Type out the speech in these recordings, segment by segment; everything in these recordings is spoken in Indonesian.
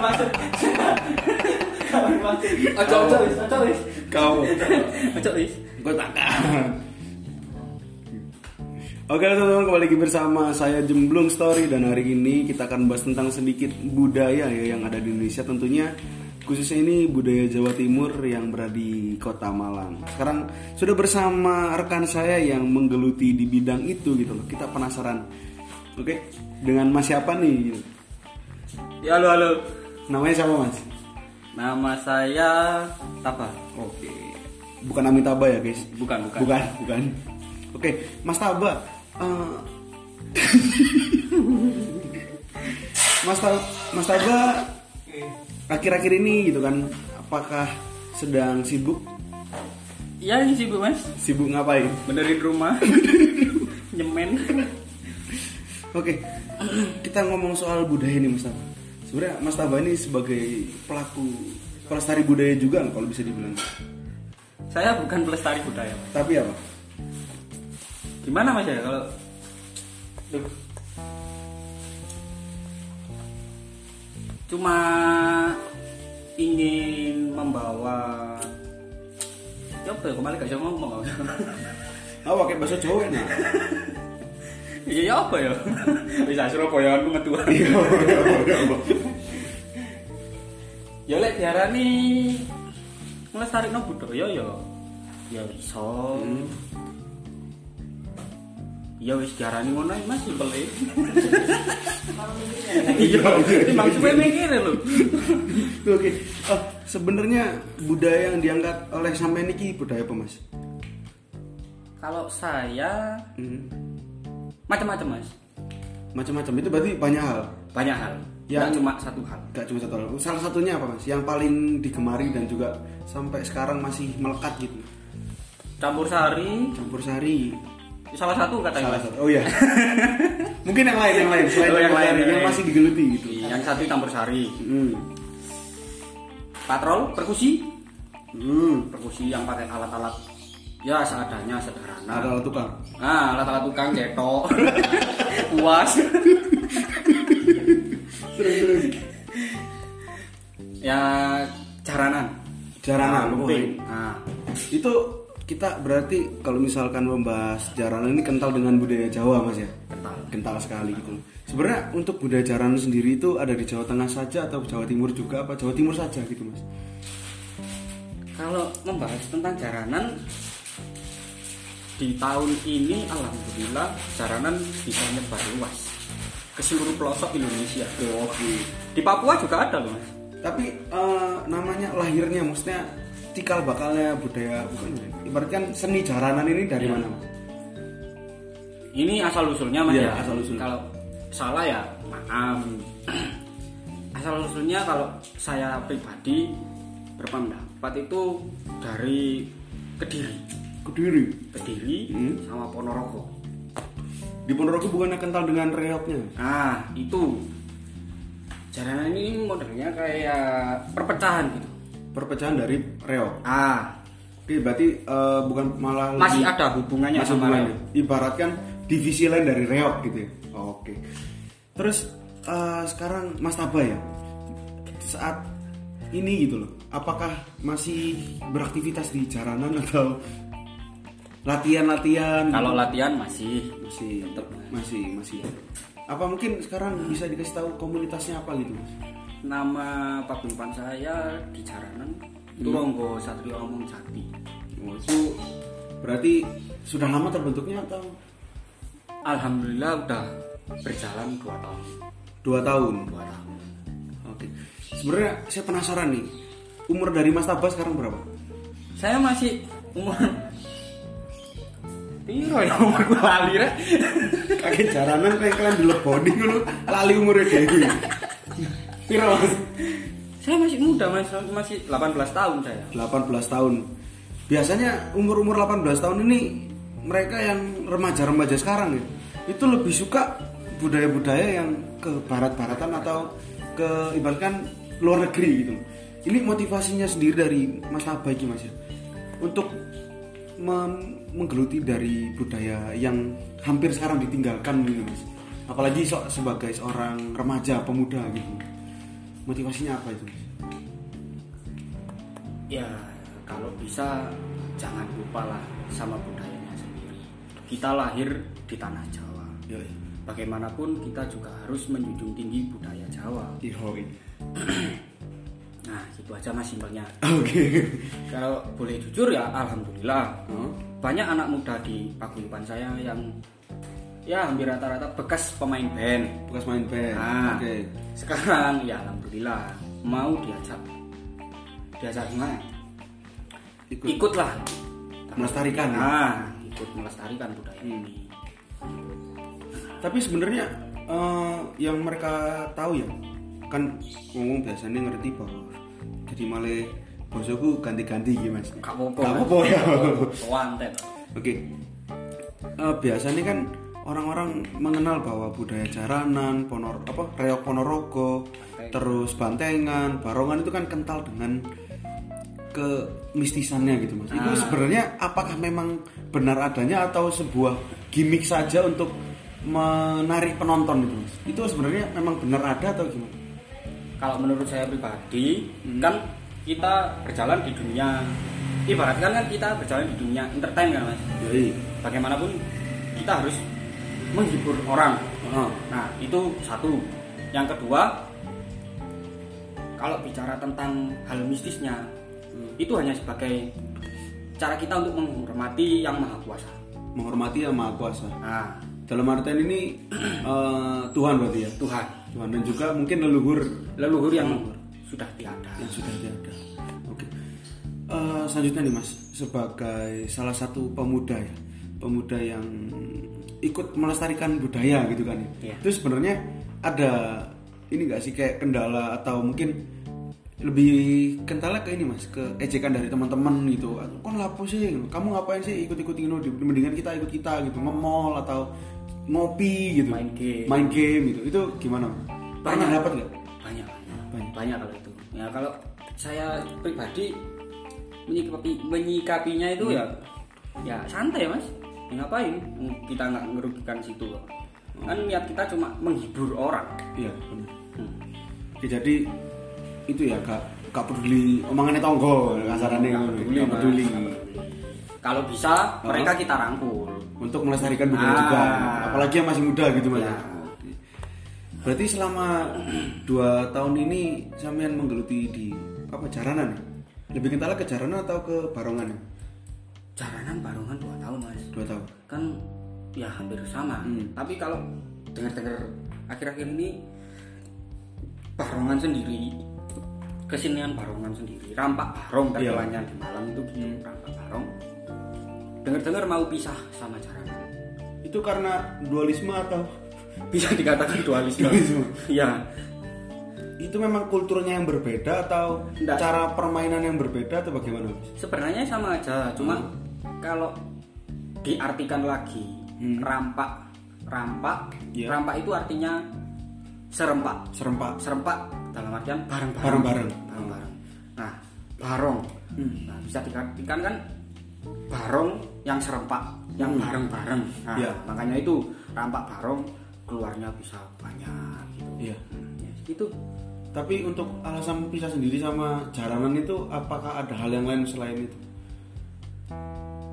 masuk. Ojo, ojo, wis, ojo, wis. Kau. Ojo, wis. Gue takut. Oke teman-teman kembali lagi bersama saya Jemblung Story dan hari ini kita akan bahas tentang sedikit budaya ya yang ada di Indonesia tentunya khususnya ini budaya Jawa Timur yang berada di kota Malang. Sekarang sudah bersama rekan saya yang menggeluti di bidang itu gitu loh. Kita penasaran. Oke, dengan Mas siapa nih? Ya halo halo. Namanya siapa Mas? Nama saya Tapa. Oke. Bukan Amitabha ya guys? Bukan, bukan. Bukan, bukan. Oke, Mas Taba. eh, Mas Taba, Mas Taba akhir-akhir ini gitu kan, apakah sedang sibuk? Iya ini sibuk mas. Sibuk ngapain? Benerin rumah. Nyemen. Oke, kita ngomong soal budaya nih Mas Taba. Sebenarnya Mas Taba ini sebagai pelaku pelestari budaya juga kalau bisa dibilang. Saya bukan pelestari budaya. Mas. Tapi apa? Gimana mas ya kalau cuma ingin membawa Ya, apa ya kemarin gak bisa ngomong Oh, pakai bahasa Jawa nih. Iya ya apa ya bisa Surabaya aku metu Iya, ya lek diarani nglesarikno budaya ya ya iso ya wis diarani ngono ya, Mas simpel e. Iya, timbang suwe mikir e lho. Oke, oh, sebenarnya budaya yang diangkat oleh sampean niki budaya apa mas? Kalau saya macam-macam, Mas. Macam-macam itu berarti banyak hal. Banyak hal. Ya. Ya. cuma satu hal. Gak cuma satu hal. Salah satunya apa mas? Yang paling digemari dan juga sampai sekarang masih melekat gitu. Campur sari Campur sari. salah satu katanya. Salah Mas. satu. Oh iya. Mungkin yang lain yang lain selain Oh, yang lain, campur sari yang yang lain. masih digeluti gitu. Iya, Yang satu campur sari. Hmm. patrol perkusi Hmm. perkusi yang pakai alat-alat ya seadanya sederhana Ada tukang. nah alat-alat tukang cetok puas ya jaranan Jaranan, lumping nah Itu kita berarti kalau misalkan membahas jaranan ini kental dengan budaya Jawa mas ya? kental kental sekali gitu. Sebenarnya untuk budaya jaranan sendiri itu ada di Jawa Tengah saja atau Jawa Timur juga apa Jawa Timur saja gitu mas? kalau membahas tentang jaranan di tahun ini alhamdulillah jaranan bisa nyebar luas ke seluruh pelosok Indonesia di Papua juga ada loh mas Tapi eh, namanya lahirnya maksudnya cikal bakalnya budaya bukan budaya. ibaratkan seni jaranan ini dari mana mas? Ini asal usulnya mas Iya, ya. asal usul. Kalau salah ya maaf. asal usulnya kalau saya pribadi berpendapat itu dari Kediri, Kediri. Kediri Hmm. sama Ponorogo. Di Ponorogo bukannya kental dengan reoknya? Nah itu jaranan ini modelnya kayak perpecahan gitu. Perpecahan dari reok. Ah Oke berarti eh, bukan malah masih lebih- ada hubungannya Masih sama hubungannya. Ibaratkan divisi lain dari reok gitu ya. Oke. Terus eh, sekarang Mas Taba ya. Saat ini gitu loh. Apakah masih beraktivitas di jaranan atau latihan-latihan? Kalau latihan masih masih tetap. masih masih. Apa mungkin sekarang bisa dikasih tahu komunitasnya apa gitu? Mas? Nama paguyuban saya di jaranan Hmm. itu Ronggo Satrio Omong Jati. Oh, itu berarti sudah lama terbentuknya atau Alhamdulillah udah berjalan 2 tahun. dua tahun? 2 tahun. Oke. Sebenarnya saya penasaran nih. Umur dari Mas Taba sekarang berapa? Saya masih umur Piro ya umur gue lali rek. Kakek jaranan kayak kalian dulu body dulu lali umurnya dewi. Piro Mas? Saya masih muda mas, masih 18 tahun saya. 18 tahun. Biasanya umur-umur 18 tahun ini mereka yang remaja-remaja sekarang ya, itu lebih suka budaya-budaya yang ke barat-baratan atau ke ibaratkan luar negeri gitu. Ini motivasinya sendiri dari Mas Abah ini Mas ya, untuk mem- menggeluti dari budaya yang hampir sekarang ditinggalkan gitu Mas. apalagi so- sebagai seorang remaja pemuda gitu motivasinya apa itu ya kalau bisa jangan lupa lah sama budayanya sendiri kita lahir di tanah Jawa Yoi. bagaimanapun kita juga harus menjunjung tinggi budaya Jawa Ihoi. nah itu aja mas simpelnya oke kalau boleh jujur ya alhamdulillah Hmm. banyak anak muda di paguyuban saya yang ya hampir rata-rata bekas pemain band bekas main band Nah, oke sekarang ya alhamdulillah mau diajak diajak kemana? Ikut. Ikutlah Melestarikan, Hmm. ya? Nah, ikut melestarikan budaya ini. tapi sebenarnya eh, yang mereka tahu ya kan ngomong biasanya ngerti bahwa jadi malah bosoku ganti-ganti gitu mas Gak apa-apa. Gak apa-apa ya Wantet. Oke. Eh, biasanya kan orang-orang mengenal bahwa budaya jaranan, ponor apa reok ponorogo, terus bantengan, barongan itu kan kental dengan kemistisannya gitu mas. Itu sebenarnya apakah memang benar adanya atau sebuah gimmick saja untuk menarik penonton gitu mas? Itu sebenarnya memang benar ada atau gimana? Kalau menurut saya pribadi, Hmm. kan kita berjalan di dunia ibaratkan kan kita berjalan di dunia entertain kan mas. Jadi, Bagaimanapun kita harus menghibur orang. ah, Nah, itu satu. Yang kedua, kalau bicara tentang hal mistisnya, itu hanya sebagai cara kita untuk menghormati yang maha kuasa. menghormati yang maha kuasa. Nah, Dalam artian ini eh, Tuhan berarti ya. Tuhan, Tuhan dan juga mungkin leluhur leluhur yang sudah tiada. yang sudah ada. Oke. Eh, selanjutnya nih Mas, sebagai salah satu pemuda ya, pemuda yang ikut melestarikan budaya gitu kan. Iya. ya. Itu sebenarnya ada ini enggak sih kayak kendala atau mungkin lebih kentalnya ke ini Mas, ke ejekan dari teman-teman gitu. Atau, Kon lapo sih? Gitu. Kamu ngapain sih ikut-ikut ini? Mendingan kita ikut kita gitu, nge-mall atau ngopi gitu. Main game. Main game gitu. Itu gimana? Mas? Pernah dapat nggak? Banyak, Banyak. banyak, banyak kalau itu. Ya kalau saya pribadi menyikapi, menyikapinya itu ya, ya santai mas. Ya, ngapain? Kita nggak merugikan situ loh. Kan niat kita cuma menghibur orang. Iya, bener. Oke, jadi itu ya gak gak peduli omongannya tonggo kasarannya kan. Hmm, Nggak gak peduli, peduli, Mas. Nggak peduli. Kalau bisa mereka kita rangkul. untuk melestarikan budaya Ah. juga apalagi yang masih muda gitu mas Ya. berarti selama dua tahun ini sampean menggeluti di apa jaranan lebih kental ke jaranan atau ke barongan Jaranan barongan 2 kan tahun mas. dua tahun Kan ya hampir sama. Hmm. Tapi kalau dengar-dengar akhir-akhir ini barongan sendiri kesenian barongan sendiri rampak barong Iya. Hmm. terkelannya di Malang itu gitu rampak barong dengar-dengar mau pisah sama jaranan itu karena dualisme atau bisa dikatakan dualisme Dualisme. ya itu memang kulturnya yang berbeda atau Nggak. cara permainan yang berbeda atau bagaimana mas? Sebenarnya sama aja, cuma Hmm. kalau diartikan lagi rampak, rampak, Hmm. Iya. rampak itu artinya serempak, serempak serempak dalam artian bareng-bareng, Bareng-bareng. Hmm. Bareng-bareng. Nah, barong, nah, bisa diartikan kan barong yang serempak, yang bareng-bareng. Nah, Hmm. Iya. makanya itu rampak barong keluarnya bisa banyak gitu. iya Ya, Itu Tapi untuk alasan pisah sendiri sama jaranan itu apakah ada hal yang lain selain itu?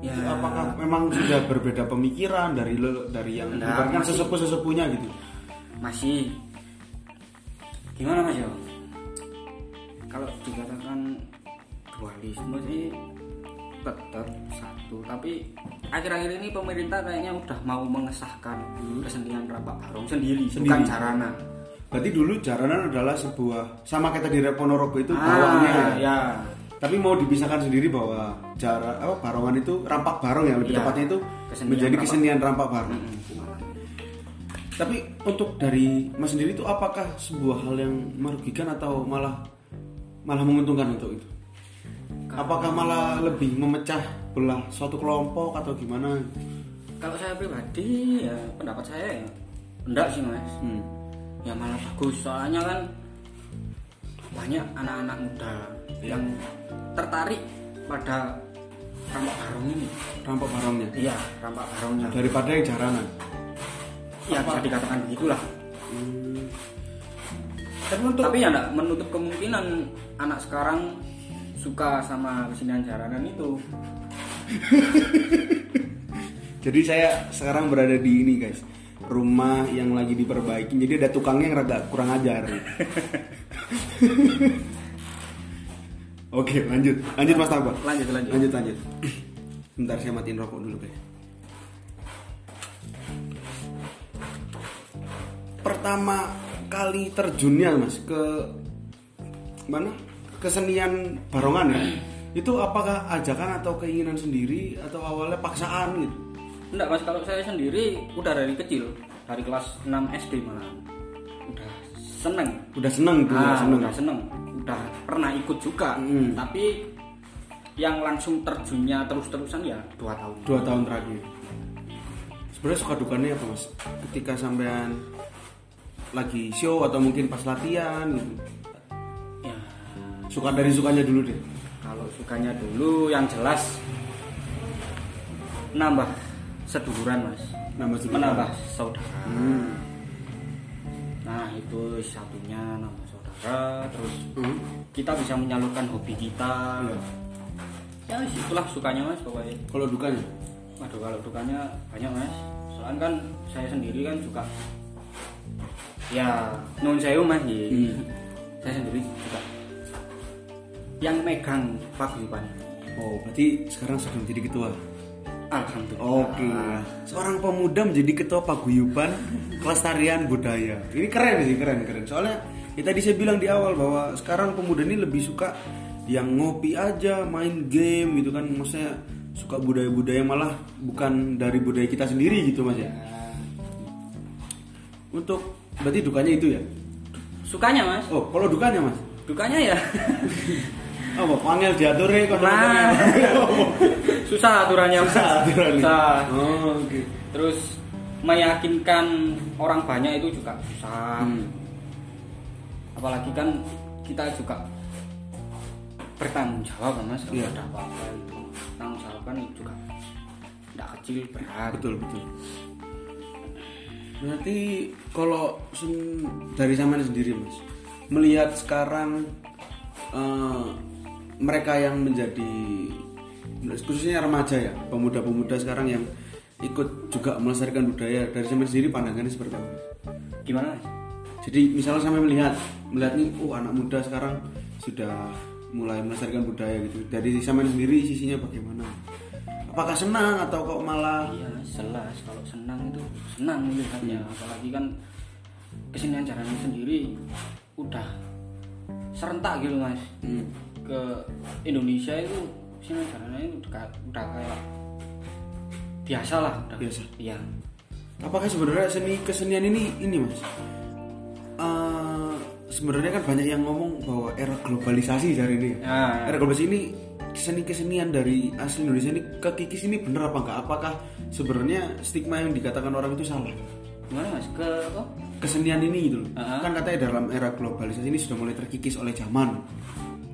ya Itu Apakah memang sudah berbeda pemikiran dari lo- dari yang Nah, ibaratkan masih- sesepuh-sesepuhnya gitu? masih gimana mas ya kalau dikatakan dualisme sih tetap satu tapi akhir-akhir ini pemerintah kayaknya udah mau mengesahkan kesenian rapak barong sendiri, bukan Hmm. Sendiri. sarana Berarti dulu jaranan adalah sebuah sama kayak tadi Rep Ponorogo itu Ah, barongnya. ya. ya Tapi mau dipisahkan sendiri bahwa jara apa barongan itu rampak barong ya lebih Iya. tepatnya itu Kesenian menjadi rampak. kesenian rampak barong. Mm, gimana? Tapi untuk dari Mas sendiri itu apakah sebuah hal yang merugikan atau malah malah menguntungkan untuk itu? Apakah malah lebih memecah belah suatu kelompok atau gimana? kalau saya pribadi ya pendapat saya ya enggak sih mas Hmm. ya malah bagus soalnya kan banyak anak-anak muda yang tertarik pada rampak barong ini Rampak barongnya iya rampak barongnya daripada yang jaranan. ya bisa dikatakan begitulah Tapi untuk tapi ya enggak menutup kemungkinan anak sekarang suka sama kesenian jaranan itu Jadi saya sekarang berada di ini guys rumah yang lagi diperbaiki jadi ada tukangnya yang rada kurang ajar oke lanjut lanjut mas Tapa lanjut lanjut lanjut lanjut bentar saya matiin rokok dulu guys pertama kali terjunnya mas ke mana kesenian barongan ya itu apakah ajakan atau keinginan sendiri atau awalnya paksaan gitu enggak mas kalau saya sendiri udah dari kecil dari kelas 6 SD malah udah seneng udah seneng tuh udah Ah, seneng udah seneng udah pernah ikut juga Hmm. tapi yang langsung terjunnya terus-terusan ya dua tahun dua tahun terakhir sebenarnya suka dukanya apa mas ketika sampean lagi show atau mungkin pas latihan gitu ya suka dari sukanya dulu deh kalau sukanya dulu yang jelas nambah seduluran mas nama menambah saudara Hmm. nah itu satunya nambah saudara terus Hmm. kita bisa menyalurkan hobi kita Iya. ya itulah sukanya mas pokoknya kalau dukanya Waduh kalau dukanya banyak mas Soalnya kan saya sendiri kan juga Ya non saya mas ya. Hmm. Saya sendiri juga Yang megang paguyuban oh berarti sekarang sudah menjadi ketua Alhamdulillah oke seorang pemuda menjadi ketua paguyuban kelestarian budaya ini keren sih keren keren soalnya ya tadi saya bilang di awal bahwa sekarang pemuda ini lebih suka yang ngopi aja main game gitu kan maksudnya suka budaya-budaya malah bukan dari budaya kita sendiri gitu mas ya untuk berarti dukanya itu ya Sukanya mas oh kalau dukanya mas Dukanya ya apa panggil diatur ya kalau Nah Nah. Susah aturannya mas Susah aturannya. Susah. oh, oke Terus meyakinkan orang banyak itu juga susah Hmm. apalagi kan kita juga bertanggung jawab kan, mas kalau Iya. ada apa-apa itu tanggung jawab kan juga tidak kecil berat betul betul berarti kalau sen- dari zaman sendiri mas melihat sekarang eh, mereka yang menjadi khususnya remaja ya pemuda-pemuda sekarang yang ikut juga melestarikan budaya dari zaman sendiri pandangannya seperti apa Mas? gimana mas? Jadi misalnya sampai melihat melihat nih, oh anak muda sekarang sudah mulai melestarikan budaya gitu. Dari sama sendiri sisinya bagaimana? Apakah senang atau kok malah iya mas jelas kalau senang itu senang melihatnya Iya. apalagi kan kesenian jaranan sendiri udah serentak gitu mas hmm, ke Indonesia itu kesenian jaranan itu udah, udah kayak biasa lah udah Biasa. iya apakah sebenarnya seni kesenian ini ini mas? Eh, sebenarnya kan banyak yang ngomong bahwa era globalisasi hari ini. Nah, Era globalisasi ini seni kesenian dari asli Indonesia ini ke kikis ini bener apa enggak? Apakah sebenarnya stigma yang dikatakan orang itu salah? gimana mas ke apa? kesenian ini gitu loh. Aha. Kan katanya dalam era globalisasi ini sudah mulai terkikis oleh zaman.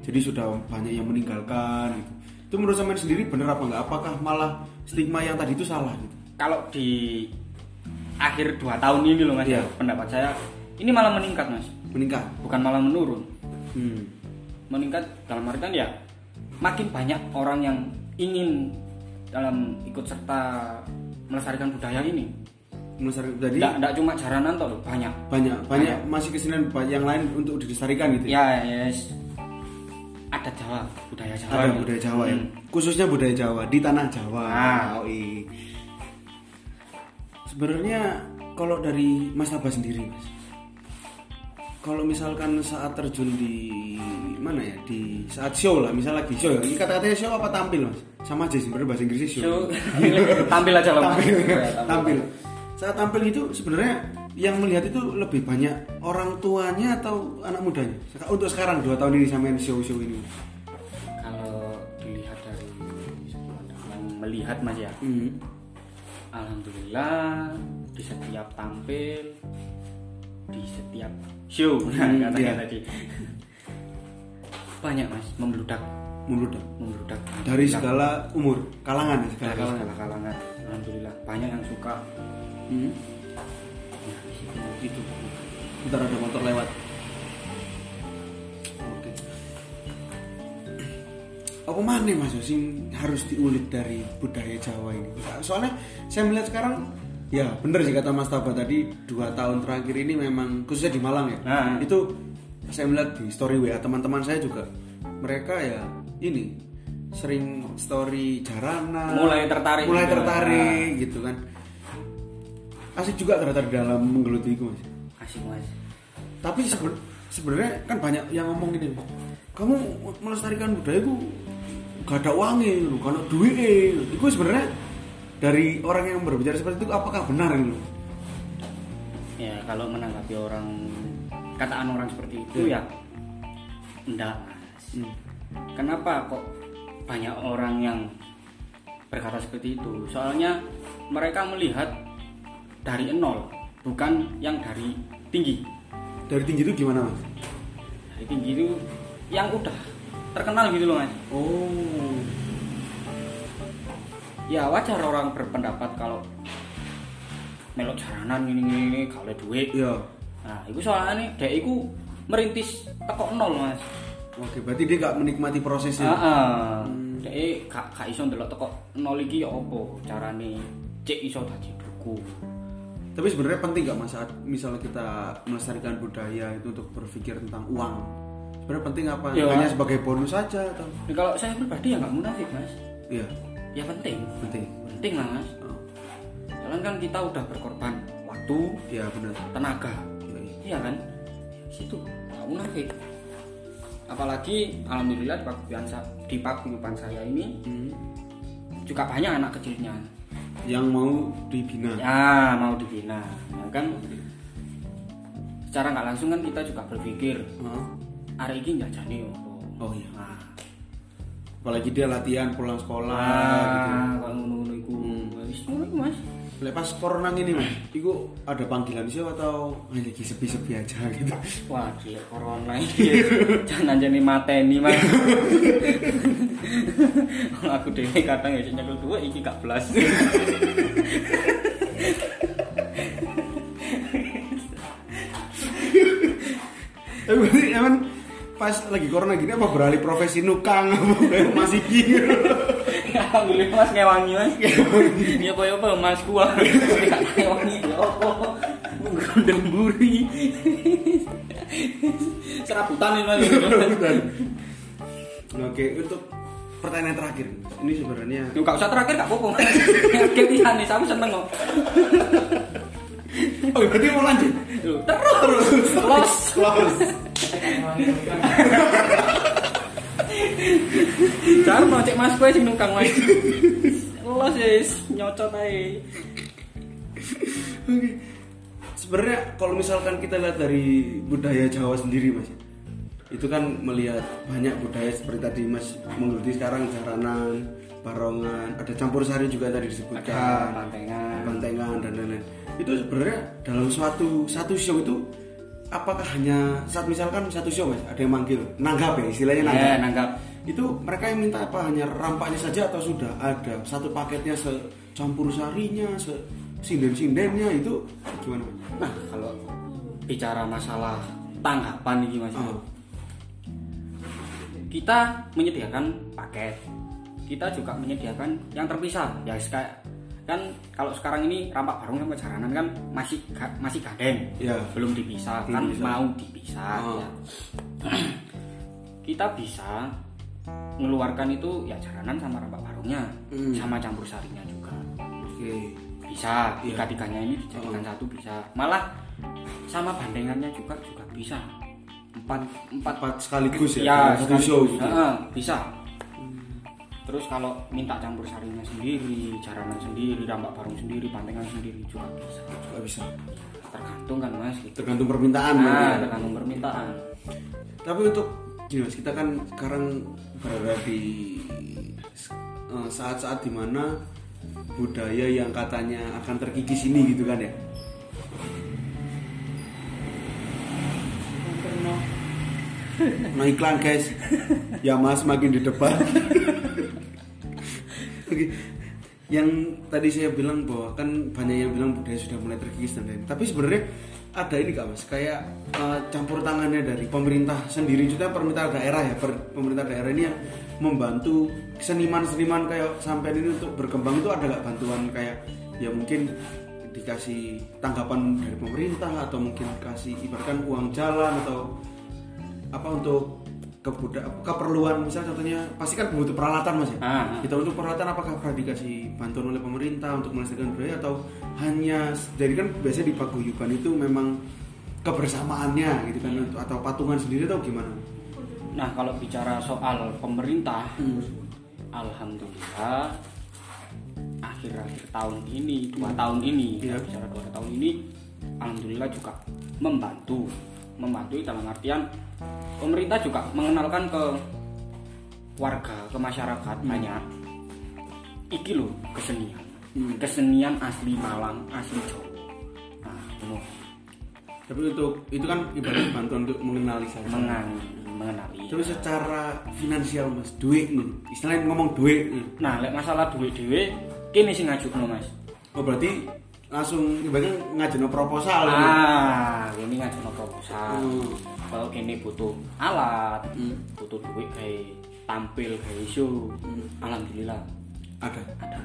Jadi sudah banyak yang meninggalkan gitu. Itu menurut saya sendiri bener apa enggak? Apakah malah stigma yang tadi itu salah gitu? kalau di akhir 2 tahun ini loh mas Iya. ya, pendapat saya ini malah meningkat mas Meningkat. bukan malah menurun Hmm. meningkat dalam artian ya makin banyak orang yang ingin dalam ikut serta melestarikan budaya ini Menurut saya tadi tidak tidak cuma jaranan toh loh, banyak banyak banyak masih kesenian ba- yang lain untuk dilestarikan gitu. ya yes ada Jawa budaya Jawa Ada gitu. budaya Jawa ya. Hmm. Khususnya budaya Jawa di tanah Jawa. Ah. Oi. Sebenarnya kalau dari Mas Abah sendiri, Mas. Kalau misalkan saat terjun di mana ya? Di saat show lah, misal lagi show. ya. Ini kata-katanya show apa tampil, Mas? Sama aja sih, sebenarnya bahasa Inggrisnya show. So, tampil aja loh mas tampil. Ya, tampil. Saat tampil itu sebenarnya yang melihat itu lebih banyak orang tuanya atau anak mudanya. Untuk sekarang dua tahun ini sampean show-show ini. kalau dilihat dari pandangan melihat mas ya Hmm. Alhamdulillah di setiap tampil di setiap show nah, Hmm, katanya iya. tadi banyak mas membludak Meludak. membludak dari segala umur kalangan ya, segala dari kalangan segala kalangan alhamdulillah banyak yang suka Hmm. gitu Ntar ada motor lewat. Oke. Apa mana Mas Yo sing harus diulik dari budaya Jawa ini? Nah, Soalnya saya melihat sekarang ya bener sih kata Mas Taba tadi dua tahun terakhir ini memang khususnya di Malang ya. Nah. Itu saya melihat di story WA teman-teman saya juga mereka ya ini sering story jarana Mulai tertarik mulai juga. tertarik gitu kan asik juga ternyata di dalam menggeluti itu mas asik mas tapi sebe- sebenarnya kan banyak yang ngomong gini kamu melestarikan budaya itu gak ada uangnya lu gak ada duitnya itu sebenarnya dari orang yang berbicara seperti itu apakah benar lu ya kalau menanggapi orang kataan orang seperti itu ya enggak mas kenapa kok banyak orang yang berkata seperti itu soalnya mereka melihat dari nol bukan yang dari tinggi dari tinggi itu gimana mas dari tinggi itu yang udah terkenal gitu loh mas oh ya wajar orang berpendapat kalau melok jaranan ini ini ini gak oleh duit iya nah itu soalnya nih dek iku merintis tekok nol mas oke berarti dia gak menikmati prosesnya Ah. Heeh. Dek gak gak iso ndelok tekok nol iki ya apa carane cek iso dadi duku. tapi sebenarnya penting gak mas saat misalnya kita melestarikan budaya itu untuk berpikir tentang uang sebenarnya penting apa Iya. hanya sebagai bonus saja atau Nah, kalau saya pribadi ya nggak munafik mas iya ya penting penting penting lah mas Oh, soalnya kan kita udah berkorban waktu iya benar tenaga Iya, iya. iya kan situ nggak munafik apalagi alhamdulillah di paguyuban sa- di paguyuban saya ini Hmm. juga banyak anak kecilnya yang mau dibina ya mau dibina ya kan secara nggak langsung kan kita juga berpikir Heeh. hari ini ya jajane opo Oh iya. nah, apalagi dia latihan pulang sekolah gitu. nah kalau ngono-ngono iku wis ngono iku, mas Lek pas corona ini mas, itu ada panggilan siapa atau hanya lagi sepi-sepi aja gitu. Wah, gila corona ini. Jangan aja nih mateni, Mas. Kalau aku dhewe kadang ya nyekel dua iki gak belas. Tapi berarti emang pas lagi corona gini apa beralih profesi nukang apa masih gitu. Alhamdulillah Mas ngewangi, Mas. Ya apa apa Mas gua. Gak ngewangi ya apa. Gondel buri. Serabutan ini, Mas. Oke, untuk pertanyaan terakhir, ini sebenarnya Yo gak usah terakhir gak apa-apa, Mas. Terakhir pisan nih, sampe seneng kok. Oh, berarti mau lanjut. Loh, Terus. Los. Close. Jangan mau cek mas kue sing nukang mas. Los yes, nyocot ae. Oke. Sebenarnya kalau misalkan kita lihat dari budaya Jawa sendiri mas, itu kan melihat banyak budaya seperti tadi mas menggeluti sekarang jaranan, barongan, ada campur sari juga tadi disebutkan, pantengan. bantengan dan lain-lain. Itu sebenarnya dalam suatu satu show itu apakah hanya saat misalkan satu show mas ada yang manggil nanggap ya istilahnya nanggap. Ya, nanggap. Itu mereka yang minta apa hanya rampaknya saja atau sudah ada satu paketnya secampur sarinya, se sinden-sindennya itu gimana? Nah, kalau bicara masalah tanggapan iki mas, Oh, kita menyediakan paket. Kita juga menyediakan yang terpisah. Ya kayak kan kalau sekarang ini rampak barung sama jaranan kan masih ga- masih gandeng. ya. belum dipisah Belum kan dipisah. mau dipisah Oh. ya. kita bisa mengeluarkan itu ya jaranan sama rampak barungnya Hmm. sama campur sarinya juga Oke. bisa Iya. Oh. tiga tiganya ini dijadikan satu bisa malah sama bandengannya juga juga bisa empat empat Empat sekaligus ya, ya, dalam satu sekaligus. show gitu. Heeh, bisa terus kalau minta campur sarinya sendiri jaranan sendiri rampak barung sendiri bandengan sendiri juga bisa Gak bisa. tergantung kan mas gitu Tergantung permintaan. berarti nah ya. tergantung permintaan Tapi untuk gini mas, kita kan sekarang berada di eh, saat-saat dimana budaya yang katanya akan terkikis ini gitu kan ya. Nah iklan guys, ya mas makin di depan. Oke. yang tadi saya bilang bahwa kan banyak yang bilang budaya sudah mulai terkikis dan lain tapi sebenarnya ada ini kak mas kayak eh, campur tangannya dari pemerintah sendiri juga pemerintah daerah ya per- pemerintah daerah ini yang membantu seniman-seniman kayak sampai ini untuk berkembang itu ada nggak bantuan kayak ya mungkin dikasih tanggapan dari pemerintah atau mungkin kasih ibaratkan uang jalan atau apa untuk kebuda keperluan misalnya contohnya pasti kan butuh peralatan mas ya Ah, ah. kita untuk peralatan apakah pernah dikasih bantuan oleh pemerintah untuk melestarikan budaya atau hanya jadi kan biasanya di paguyuban itu memang kebersamaannya gitu kan untuk- atau patungan sendiri atau gimana Nah kalau bicara soal pemerintah, alhamdulillah akhir-akhir tahun ini dua tahun ini Iya. ya, bicara dua tahun ini, alhamdulillah juga membantu, membantu dalam artian pemerintah juga mengenalkan ke warga ke masyarakat banyak. Iki loh kesenian, kesenian asli Malang, asli Jawa. Nah, ngono. tapi untuk itu kan ibarat bantuan untuk mengenali saja mengenali, mengenali. tapi secara finansial mas duit nih istilahnya ngomong duit nih Nah, lek masalah duit dhewe kene sing ngajukan Mas. oh berarti langsung ibaratnya ngajuin proposal gitu. Ah, ini ngajukan proposal. Hmm. Kalau kene butuh alat, butuh duit kayak tampil kayak show. Hmm. Alhamdulillah ada ada.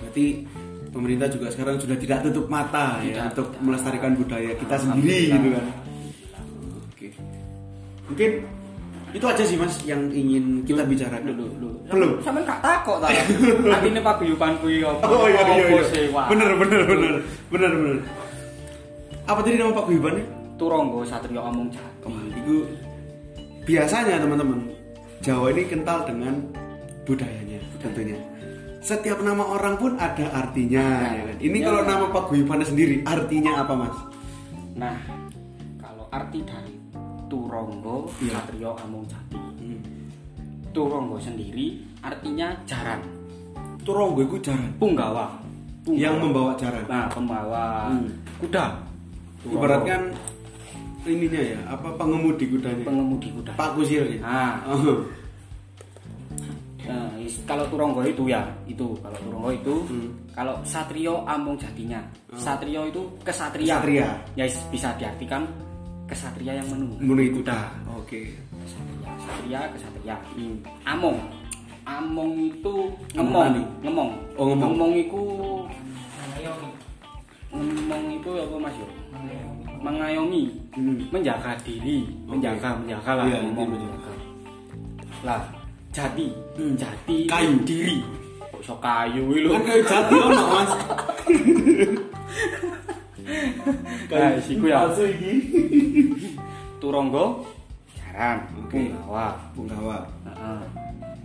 Berarti pemerintah juga sekarang sudah tidak tutup mata ya Tidak. untuk melestarikan budaya kita sendiri gitu kan. Oke. Mungkin itu aja sih Mas yang ingin kita bicarakan. Dulu, dulu. Belum. Sampe gak takok ta. Artine paguyuban kuwi apa? Oh iya iya apa iya. sewa? Bener bener bener. Bener bener. Apa tadi nama Pak ya? Guibannya? Turangga Satrio Amung Jati. Wah, itu biasanya teman-teman Jawa ini kental dengan budayanya tentunya. Setiap nama orang pun ada artinya. ya kan? Ini Ya. kalau nama Pak Guibannya sendiri artinya apa Mas? Nah, kalau arti dari Turangga Iya. Hmm. Satrio Amung Jati. Turangga sendiri artinya jaran, Turonggo itu jaran punggawa. Punggawa. yang membawa jaran. nah pembawa Hmm. kuda. Turangga. Ibaratkan ininya ya, apa pengemudi kudanya? pengemudi kuda. Pak Kusir ya. Nah, nah, is- kalau Turangga itu ya, itu kalau Turangga itu, Hmm. Oh. kalau Satrio Amung Jatinya. Satrio itu kesatria. Kesatria. Ya is- bisa diartikan kesatria yang menunggu. Muni kuda. Oke. Kesatria, satria, kesatria. Hmm. Among. Among itu Among ngemong, tadi? ngemong. Oh, ngemong. iku ngemong itu apa Mas yo? Mengayomi, Hmm. menjaga diri, menjaga, menjaga lah Iya, ngomong intinya menjaga. Lah, jati, Hmm. jati Kayu. diri. Kok iso kayu iki lho. Kan kayak jati ono Mas. Nah, isiku ya. Palsu iki. Turangga jarang Oke. punggawa. Punggawa. Heeh.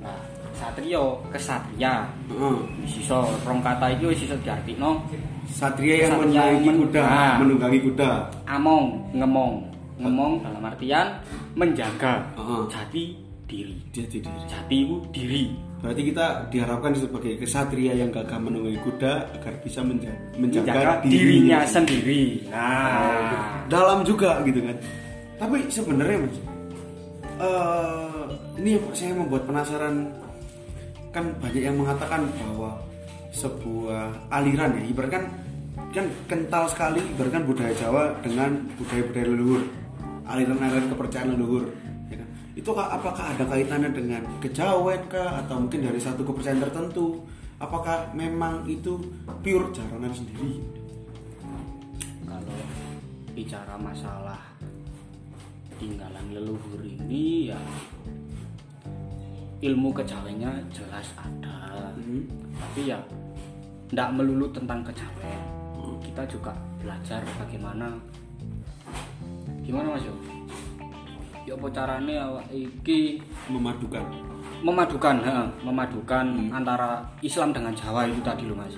Nah, satrio kesatria. Heeh. Wis iso rong kata iki wis iso diartikno Satria yang Satria yang menaiki men- kuda, Ah. menunggangi kuda. among ngemong ngemong dalam artian menjaga Heeh. jati diri Jati diri. jati itu diri Berarti kita diharapkan sebagai kesatria yang gagah menunggangi kuda agar bisa menja- menjaga menjaga, dirinya sendiri nah dalam juga gitu kan tapi sebenarnya mas eh, ini yang saya membuat penasaran kan banyak yang mengatakan bahwa sebuah aliran ya ibaratkan kan kental sekali ibaratkan budaya Jawa dengan budaya-budaya leluhur aliran-aliran kepercayaan leluhur ya kan? itu ka- apakah ada kaitannya dengan kejawen kah atau mungkin dari satu kepercayaan tertentu apakah memang itu pure jaranan sendiri kalau bicara masalah tinggalan leluhur ini ya ilmu kejawennya jelas ada Hmm. tapi ya tidak melulu tentang kejawen kita juga belajar bagaimana gimana mas yo ya apa carane awak iki memadukan memadukan heeh, memadukan antara Islam dengan Jawa itu tadi loh mas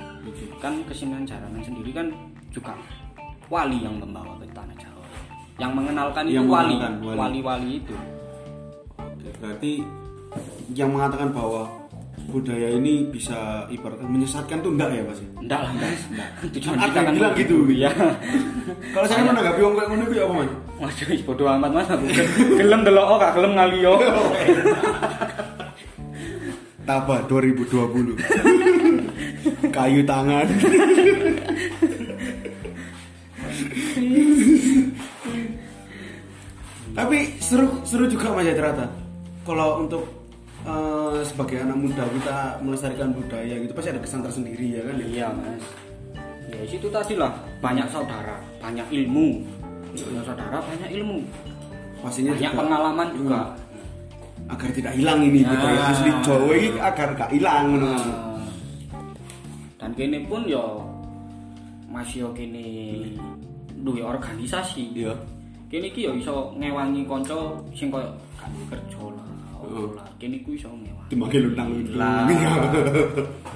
kan kesenian jaranan sendiri kan juga wali yang membawa ke tanah Jawa yang mengenalkan Yang itu wali mengenalkan, wali. wali-wali itu Oke, berarti yang mengatakan bahwa budaya ini bisa ibaratkan menyesatkan tuh enggak ya mas? ya? enggak lah mas tujuan Ada kita yang kan bilang gitu. ya Kalau saya menanggapi orang kayak ngono itu ya apa mas? Waduh, ih, bodo amat mas aku gelem delok oh gak gelem ngali yo Taba 2020. kayu tangan tapi seru seru juga mas ya ternyata kalau untuk eh, sebagai anak muda kita melestarikan budaya gitu pasti ada kesan tersendiri ya kan ya Iya mas. Ya situ tadi lah banyak saudara, banyak ilmu. Banyak saudara, banyak ilmu. pastinya Banyak juga Hmm. pengalaman juga. agar tidak hilang ini gitu ya. Nah. budaya asli Jawa ini agar gak hilang ngono Mas. Eh, Dan kini pun ya masih yo kini duwe organisasi. Iya. Kini ki yo iso ngewangi kanca sing koyo gak kerja lah. opo lah. Kini ku iso ngewangi. dimakai luntang Lah. luntung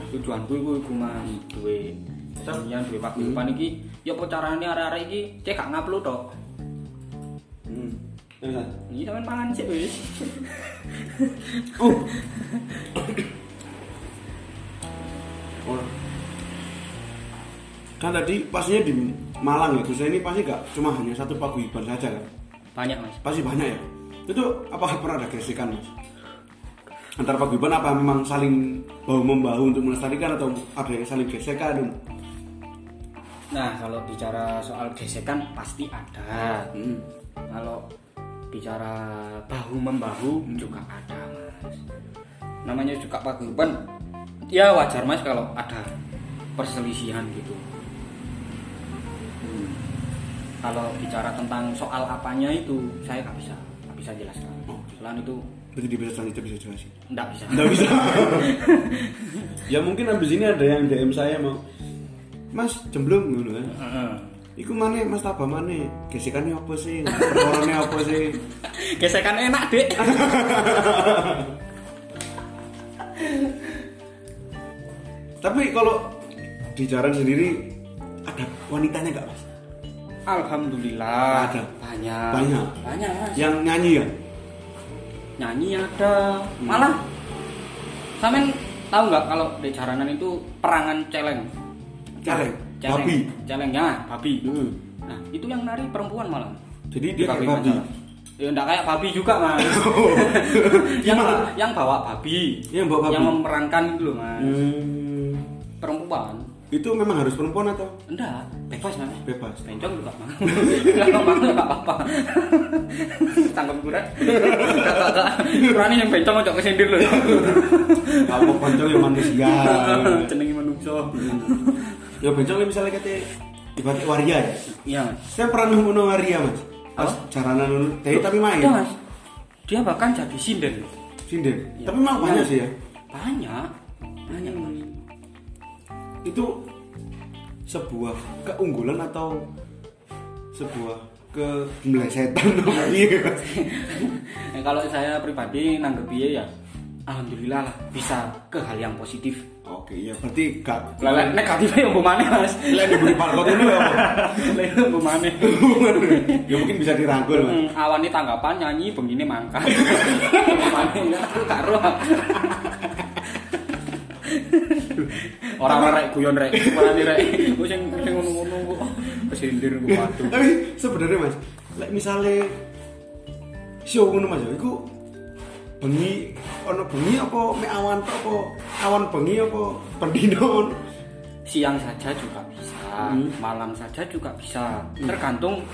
tujuanku iku iku Mas, duwe kesenian duwe paguyuban iki ya apa carane arek-arek iki cek gak ngupload tok. Hmm. Terus, Mas? Ini sampean pangan sik wis. Uh. Oh. Kan tadi pasnya di Malang ya, Gusnya ini pasti gak cuma hanya satu paguyuban saja kan? Banyak Mas. Pasti banyak ya? Itu apa pernah ada gesekan mas? Antar paguyuban apa memang saling bahu membahu untuk melestarikan atau ada yang saling gesekan? Nah, kalau bicara soal gesekan pasti ada. Hmm. Kalau bicara bahu membahu Hmm. juga ada, Mas. Namanya juga paguyuban. Ya wajar, Mas, kalau ada perselisihan gitu. Hmm. Kalau bicara tentang soal apanya itu saya nggak bisa, nggak bisa jelaskan. Selain itu Berarti di bisa itu bisa jelasin. nggak bisa. Nggak bisa. ya mungkin abis ini ada yang DM saya mau, Mas jemblung gitu kan? Heeh. Iku mana mas tabah mana? Gesekannya apa sih? Orangnya apa sih? Gesekan enak, Dek. Tapi kalau di jalan sendiri ada wanitanya nggak mas? Alhamdulillah Ada. banyak Banyak. banyak Mas. Yang nyanyi ya? nyanyi ada malah Samen tahu nggak kalau di jaranan itu perangan celeng Celeng? celeng Babi? celeng ya babi Hmm. nah itu yang nari perempuan malah Jadi dia kayak paguyuban babi. jalan. ya enggak kayak babi juga mas yang Gimana? yang bawa babi Yang bawa babi? yang memerankan itu loh mas Hmm. perempuan Itu memang harus perempuan atau enggak bebas mas bebas? bencong juga mau kalau mau nggak apa-apa tangkap kurat kakak kakak kurangnya yang bencong ngocok kesindir loh Kalau mau bencong ya manusia. jenengi manungso ya bencong ya misalnya kata ibarat waria ya. iya mas Saya pernah nemu no waria mas. Pas jaranan dulu, teh Eh, tapi main. Iya, mas dia bahkan jadi sinden Sinden. Iya. Tapi memang banyak sih ya. banyak banyak mas itu sebuah keunggulan atau sebuah Iya. keblesetan namanya Mas? Eh, kalau saya pribadi nanggepi ya alhamdulillah lah bisa ke hal yang positif oke ya berarti gak Lelek negatifnya yang bumane mas Lelek diberi barcode ini ya apa? Lelek yang bumane ya mungkin bisa dirangkul mas Hmm, awani tanggapan nyanyi begini mangkat. Mane ya aku karo. Orang rek guyon rek, orang rek. Ku sing sing ngono-ngono kok kesindir ku waduh. tapi sebenarnya mas like misalnya show ngono mas ya itu bengi ono bengi apa me awan tok apa awan bengi apa pendino Siang saja juga bisa, Hmm. malam saja juga bisa. Tergantung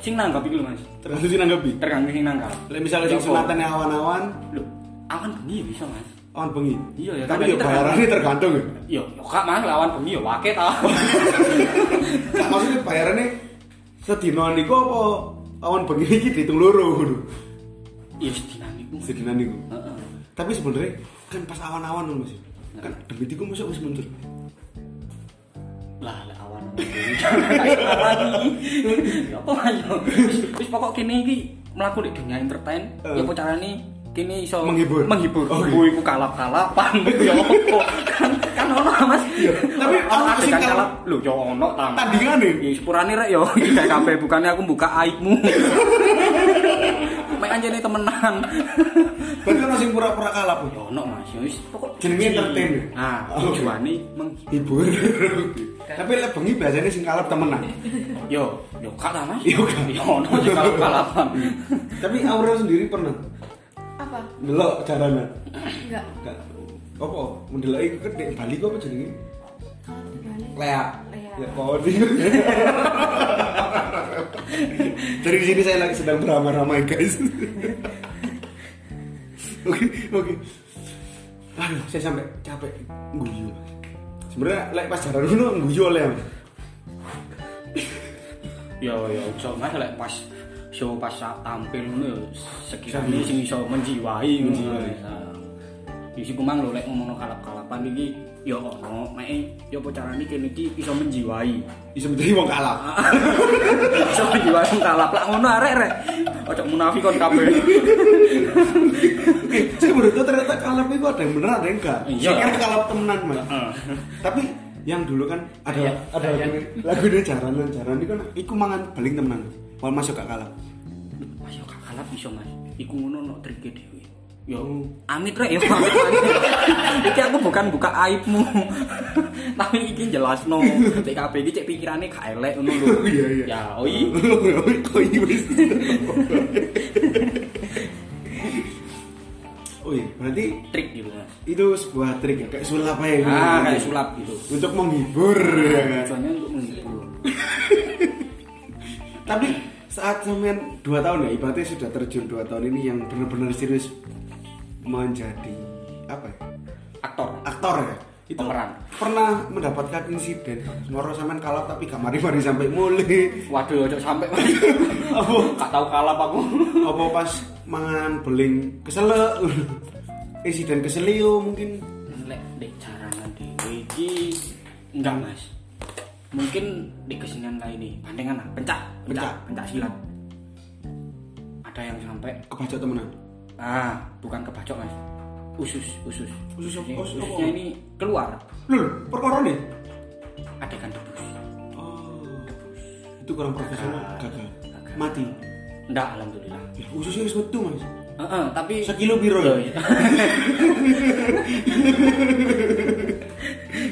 sing nanggap iku lho, Mas. terus sih nanggapi Tergantung sing nanggap. Ya, like misalnya sing Apa? sunatan awan-awan Lho, awan bengi ya bisa, Mas. awan bengi Iya, ya, tapi ya tapi kita- bayarannya tergantung ya Yo, yo kak Mas lawan bengi yo wake ta. Kak maksudnya bayarannya sedina niku apa awan bengi iki dihitung loro ngono. Yo sedinane iku. Sedina niku. Ya, Heeh. Tapi sebenarnya kan pas awan-awan ngono Mas. Kan demi iku mosok wis muncul. lah lek awan Kayak awan iki. Ya apa ayo wis wis pokok kene iki mlaku nek dunia entertain ya Eh. apa carane kene iso Menghibur. menghibur Oke. ibu iku kalap-kalapan ya apa kan kan ono Mas tapi ono ono sing sing kalap- kalap lho ya ono ta Tandingane. ya sepurane rek yo iki KKP bukannya aku buka aibmu Mek anjene temenan Berarti ono kan sing pura-pura kalap. ya ono Mas ya wis pokok Jenenge entertain. nah Oke. tujuane menghibur Hibur. Tapi lek bengi biasanya sing kalap temenan. yo yo kalah Mas Yo, kak. yo ono Oh, sing kalap-kalapan Tapi Aurel sendiri pernah apa delok jaranan. enggak Gak- Apa? Mendelok iku kedek Bali kok apa jenenge? Lea. Lea. Ya kodir. Dari di sini saya lagi sedang beramai-ramai guys. Oke oke. Aduh saya sampai capek guyu. Sebenarnya lek pacaran dulu guyu oleh Mas. Ya ya iso mas lek pas show pas sa- tampil ngono ya sekiranya sing iso menjiwai ngono. Menjiwai. Nah, Isi kumang lho lek ngomongno kalap-kalapan iki ya ono meke ya apa carane kene iki iso menjiwai. Bisa menjadi wong kalah. Iso menjiwai wong kalap lak ngono arek rek. Ojo munafik kon kabeh. Oke, saya baru tahu ternyata kalap itu ada yang bener ada yang enggak. Iya. Saya kira kalap temenan mas. Tapi yang dulu kan ada Iya, ada iya. lagu lagu ini jaranan jaranan itu kan iku mangan paling temenan. Wal masuk gak kalap. Mas yo gak kalap iso Mas. Iku ngono no trike dhewe. Yo Oh. amit rek yo. amit, amit. iki aku bukan buka aibmu. Tapi iki jelasno TKP iki cek pikirane gak elek ngono lho. Iya, iya. Ya oh, oi. Oi, wis. Oi, berarti trik gitu Mas. itu sebuah trik ya, kayak sulap aja gitu. Ah, kayak sulap gitu. Untuk menghibur ya kan. Tujuannya untuk menghibur. Tapi saat sampean 2 tahun ya, ibaratnya sudah terjun 2 tahun ini yang benar-benar serius menjadi apa ya? Aktor. Aktor ya. Pemeran. pernah mendapatkan insiden ngoro sampean kalap tapi gak mari-mari sampai mulai Waduh, ojo sampai Mas. Apa? Gak tau kalap aku. apa pas mangan beling keselak insiden keselio mungkin Lek dek jaranan dhewe iki enggak Mas. Mungkin di kesenian kali ini pandangan lah, pencak, pencak, pencak silat. Ada yang sampai kebacok temenan ah bukan kebacok mas usus usus Usus apa? Ini Usus apa? ususnya ini keluar lul perkara nih adegan debus oh, itu kurang profesional gagal Gagal. mati enggak alhamdulillah ya, ususnya wis metu mas Eh, eh, tapi sekilo biro Loh, ya iya.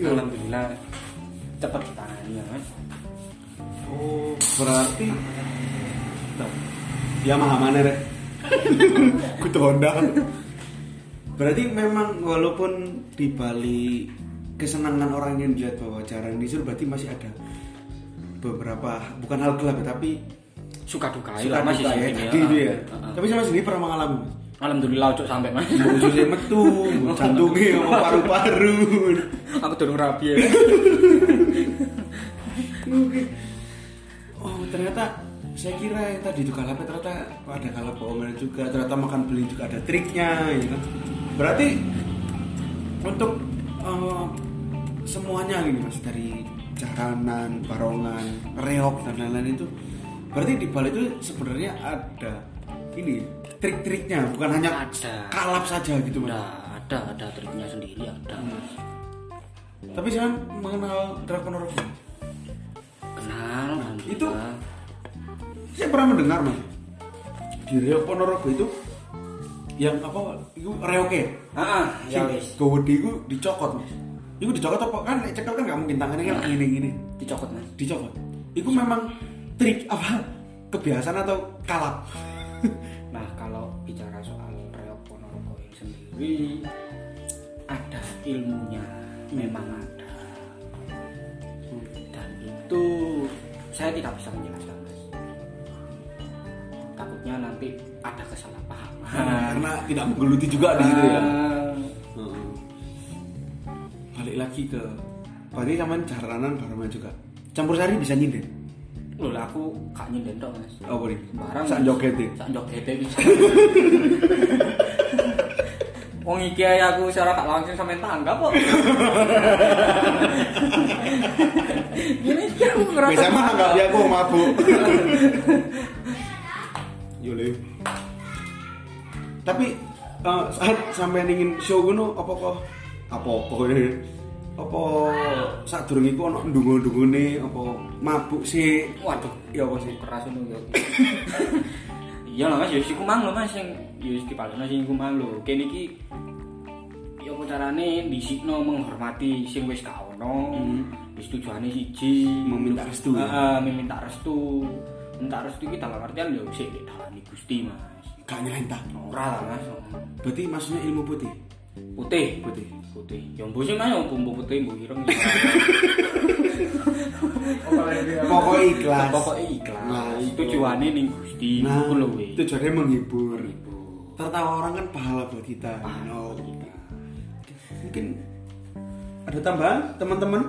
alhamdulillah cepat ditangani ya mas oh berarti ya maha mana rek kutu honda berarti memang walaupun di Bali kesenangan orang yang melihat bahwa jarang disur berarti masih ada beberapa bukan hal gelap ya, tapi suka duka ya suka mas duka ya isinya, tadi eh, itu ya. eh, eh. tapi sama sendiri pernah mengalami Mas? alhamdulillah cocok sampai mas Mbok ususnya metu mbok jantungnya sama paru-paru aku dorong rapi ya oh ternyata saya kira yang tadi itu kalapnya ternyata ada kalap bohongan juga ternyata makan beli juga ada triknya ya kan berarti untuk eh, semuanya ini mas dari jaranan barongan reok dan lain-lain itu berarti di balik itu sebenarnya ada ini trik-triknya bukan hanya Ada. kalap saja gitu mas udah ada ada triknya sendiri ada mas tapi jangan mengenal Dragon Orphan kenal alhamdulillah itu saya pernah mendengar mas di Rio Ponorogo itu yang apa itu reoke ah ah, ya ya wis gawedi itu dicokot mas itu dicokot apa kan nek cekel kan gak mungkin tangannya kan gini gini dicokot mas dicokot itu memang trik apa kebiasaan atau kalap Nah kalau bicara soal reok ponorogo ini sendiri ada ilmunya, memang ada. Dan itu saya tidak bisa menjelaskan mas. Takutnya nanti ada kesalahpahaman. karena tidak menggeluti juga di situ ya Ah, balik lagi ke berarti sama jaranan barengan juga campur sari bisa nyindir Loh lah, aku gak nyinden tok mas. oh boleh Barang sak e. jogete. Sak e, jogete bisa. Wong iki ae aku secara gak langsung sampe tanggap kok. Gini iki aku ngerasa. Biasanya mah nggak biar aku mabuk. Yole. Tapi eh, saat sampai ingin show ngono apa kok? Apa kok ini? Apa saat durung iku ono ndungu-ndungune apa mabuk sih? Waduh, Ya apa sih? keras ngono yo. Iya lah Mas, yo iku mang lho Mas sing yo iki palane sing iku mang lho. Kene iki yo apa carane dhisikno menghormati sing wis gak ono. Wis tujuane siji, Hmm. Meminta restu, ya? Heeh, meminta restu. Minta restu iki dalam artian yo sik nek dalani Gusti Mas. Gak nyelentah. Ora lah Mas. Berarti maksudnya ilmu putih. Putih. Putih. putih jombo sih mah ya bumbu putih bumbu ireng Pokok ikhlas. pokoknya ikhlas Nah, itu. tujuannya nih gusti nah, Nah, itu loh weh. tujuannya menghibur. Tertawa orang kan pahala buat kita. No. Mungkin ada tambahan teman-teman?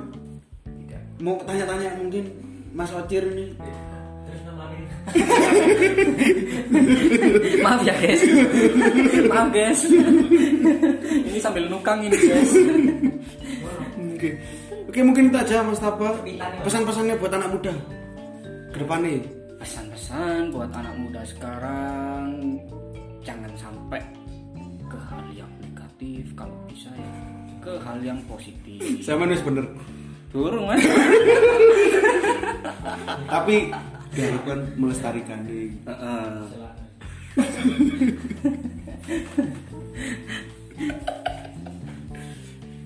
Tidak. Mau tanya-tanya mungkin Mas Ocir nih. Terus namanin. maaf ya guys maaf guys ini sambil nukang ini guys Oke. Oke, mungkin itu aja Mas Tapa. Kita nih. Pesan-pesannya buat anak muda ke depannya. pesan-pesan buat anak muda sekarang jangan sampai ke hal yang negatif kalau bisa ya ke hal yang positif Saya manis bener. turun mas Tapi diharapkan melestarikan diri. Heeh.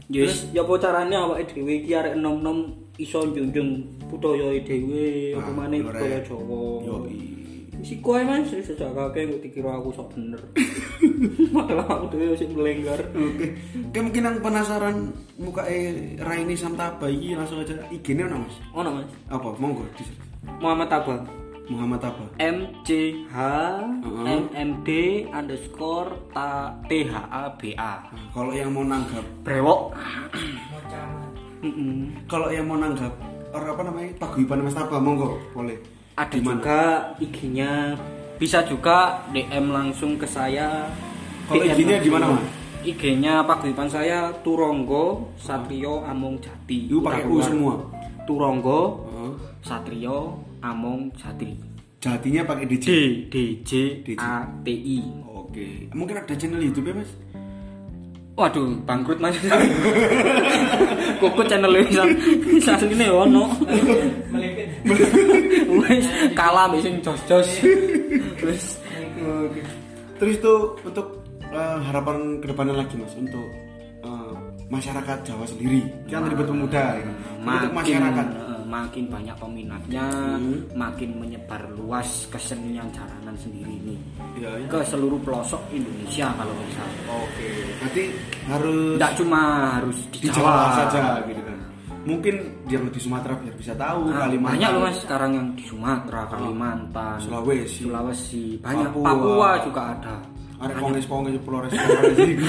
Yes, ya apa carane awake dhewe iki arek enom-enom iso njunjung budaya dhewe apa Ah, maneh bener, budaya eh. Jawa. Yoi. Si kowe mas wis jagake kok dikira aku sok bener. Malah aku dhewe sing melenggar. Oke. Oke, mungkin yang penasaran muka eh, Raini Samtaba iki langsung aja IG-nya ono Mas. Ono Mas. Apa? Monggo di Muhammad Abang. Muhammad apa? M C H Heeh. M M D underscore ta- T H A B A. Nah, kalau yang mau nanggap, Brewok. Mau camat. Mm-mm. kalau yang mau nanggap orang apa namanya? Paguyuban Mas Taba monggo, boleh. ada Di mana? juga IG-nya bisa juga DM langsung ke saya DM Kalau Oh, IG-nya langsung. di mana, Mas? IG-nya Pak Wipan saya Turonggo Satrio Among Jati Itu pakai U Udah keluar. semua. Oh. Turonggo Heeh. Satrio Among Jati Jatinya pakai D DJ. D J DJ. A T I Oke. Mungkin ada channel YouTube ya, Mas? Waduh, bangkrut mas Kok channel ini Bisa ini ya, ono Melipin. Wes kalah mbek sing jos-jos Wes Oke. Terus itu untuk eh, harapan kedepannya lagi mas untuk eh, masyarakat Jawa sendiri kan tadi buat pemuda ya kan? makin untuk masyarakat Hmm. eh, makin banyak peminatnya makin menyebar luas kesenian jaranan sendiri ini ya, ya. ke seluruh pelosok Indonesia kalau bisa oke nanti harus tidak cuma harus di Jawa saja gitu kan mungkin yang di Sumatera biar bisa tahu Nah, Kalimantan banyak loh mas sekarang yang di Sumatera Kalimantan Sulawesi. Sulawesi banyak Papua. Papua, juga ada ada kongres kongres pelores pelores gitu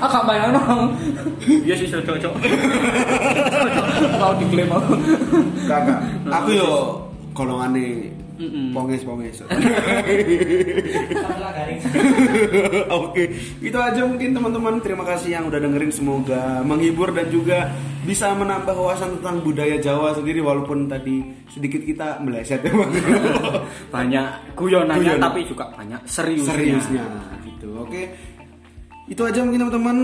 agak banyak dong iya sih sudah cocok kalau diklaim aku kakak aku yo golongannya Mm-mm. ponges ponges Salah garing. Oke, itu aja mungkin teman-teman. Terima kasih yang udah dengerin. Semoga menghibur dan juga bisa menambah wawasan tentang budaya Jawa sendiri walaupun tadi sedikit kita meleset ya Bang. banyak guyonannya Guyon. tapi juga banyak seriusnya, Seriusnya gitu. Oke. Itu aja mungkin teman-teman.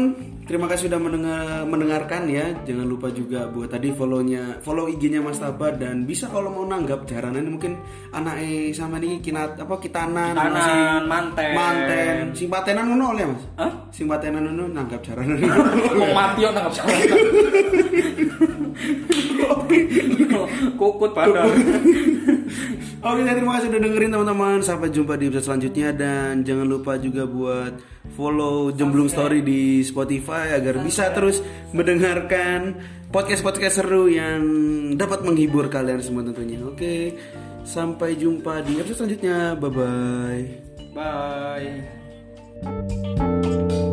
Terima kasih sudah mendengar mendengarkan ya. Jangan lupa juga buat tadi follow-nya, follow IG-nya Mas Taba dan bisa kalau mau nanggap jaranan mungkin anak eh sama ini kinat apa kitanan, Tanan, masih- manten. manten, sing patenan ngono oleh Mas. Hah? sing patenan ngono nanggap jaranan. Kok mati yo nangkap salah. Kukut padahal. Oke, saya terima kasih udah dengerin teman-teman. Sampai jumpa di episode selanjutnya dan jangan lupa juga buat follow Jemblung Story di Spotify agar bisa terus mendengarkan podcast-podcast seru yang dapat menghibur kalian semua tentunya. Oke. Sampai jumpa di episode selanjutnya. Bye bye. Bye.